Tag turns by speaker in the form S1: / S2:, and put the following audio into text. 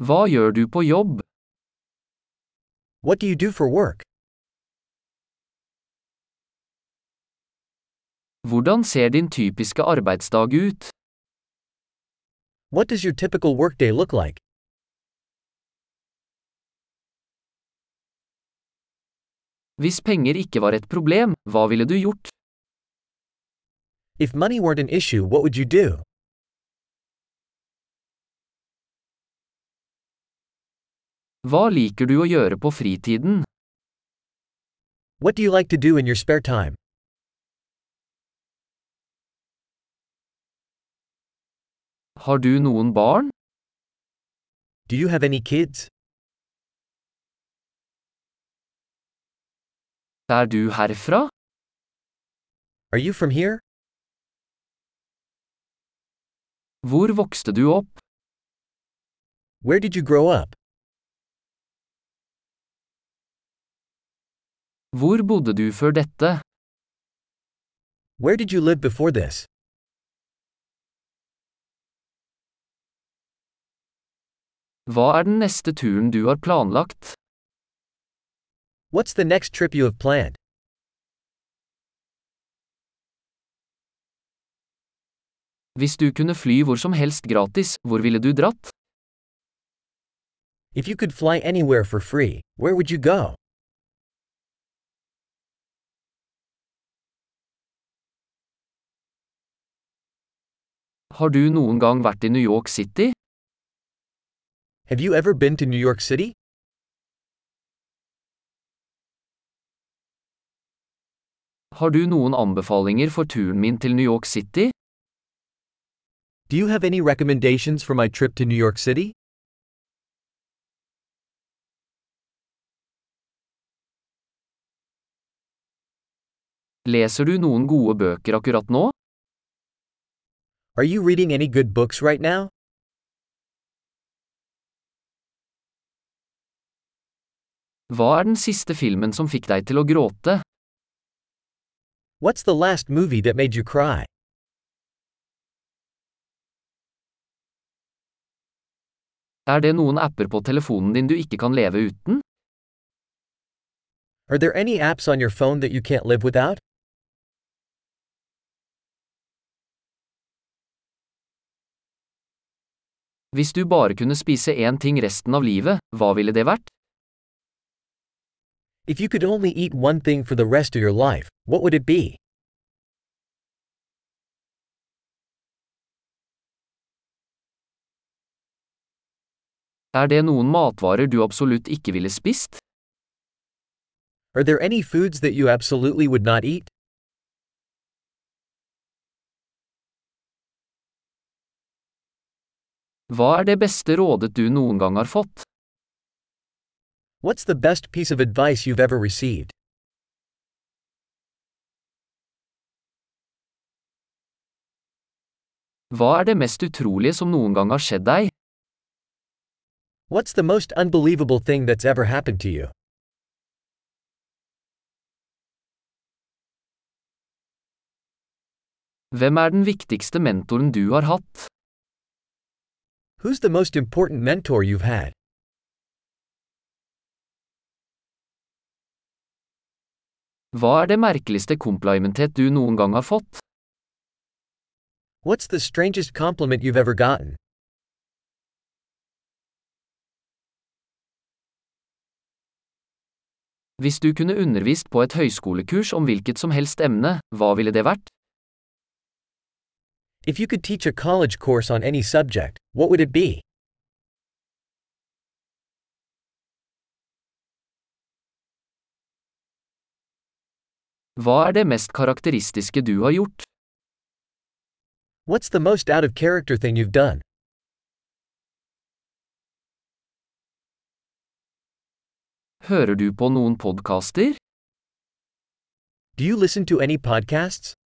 S1: Hva gjør du på jobb?
S2: What do you do for work?
S1: Hvordan ser din typiske arbeidsdag ut?
S2: What does your typical workday look like?
S1: Hvis penger ikke var et problem, hva ville du gjort?
S2: If money weren't an issue, what would you do?
S1: Hva liker du å gjøre på fritiden?
S2: What do you like to do in your spare time?
S1: Har du noen barn?
S2: Do you have any kids?
S1: Er du herfra?
S2: Are you from here?
S1: Hvor vokste du opp?
S2: Where did you grow up?
S1: Hvor bodde du før dette?
S2: Where did you live before this?
S1: Hva er den neste turen du har planlagt?
S2: What's the next trip you have planned?
S1: Hvis du kunne fly hvor som helst gratis, hvor ville du dratt?
S2: If you could fly anywhere for free, where would you go?
S1: Har du noen gang vært i New York City?
S2: Have you ever been to New York City?
S1: Har du noen anbefalinger for turen min til New York City?
S2: Do you have any recommendations for my trip to New York City?
S1: Leser du noen gode bøker akkurat nå?
S2: Are you reading any good books right now?
S1: Hva er den siste filmen som fikk deg til å gråte?
S2: What's the last movie that made you cry?
S1: Er det noen apper på telefonen din du ikke kan leve uten?
S2: Are there any apps on your phone that you can't live without?
S1: Hvis du bare kunne spise én ting resten av livet, hva ville det vært?
S2: If you could only eat one thing for the rest of your life, what would it be?
S1: Er det noen matvarer du absolutt ikke ville spist?
S2: Are there any foods that you absolutely would not eat?
S1: Hva er det beste rådet du noen gang har fått?
S2: What's the best piece of advice you've ever received?
S1: Hva er det mest utrolige som noen gang har skjedd deg?
S2: What's the most unbelievable thing that's ever happened to you?
S1: Hvem er den viktigste mentoren du har hatt?
S2: Who's the most important mentor you've had?
S1: Hva er det merkeligste komplimentet du noen gang har fått?
S2: What's the strangest compliment you've ever gotten?
S1: Hvis du kunne undervist på et høyskolekurs om hvilket som helst emne, hva ville det vært?
S2: If you could teach a college course on any subject, what would it be?
S1: Hva er det mest karakteristiske du har gjort?
S2: What's the most out of character thing you've done?
S1: Hører du på noen podkaster?
S2: Do you listen to any podcasts?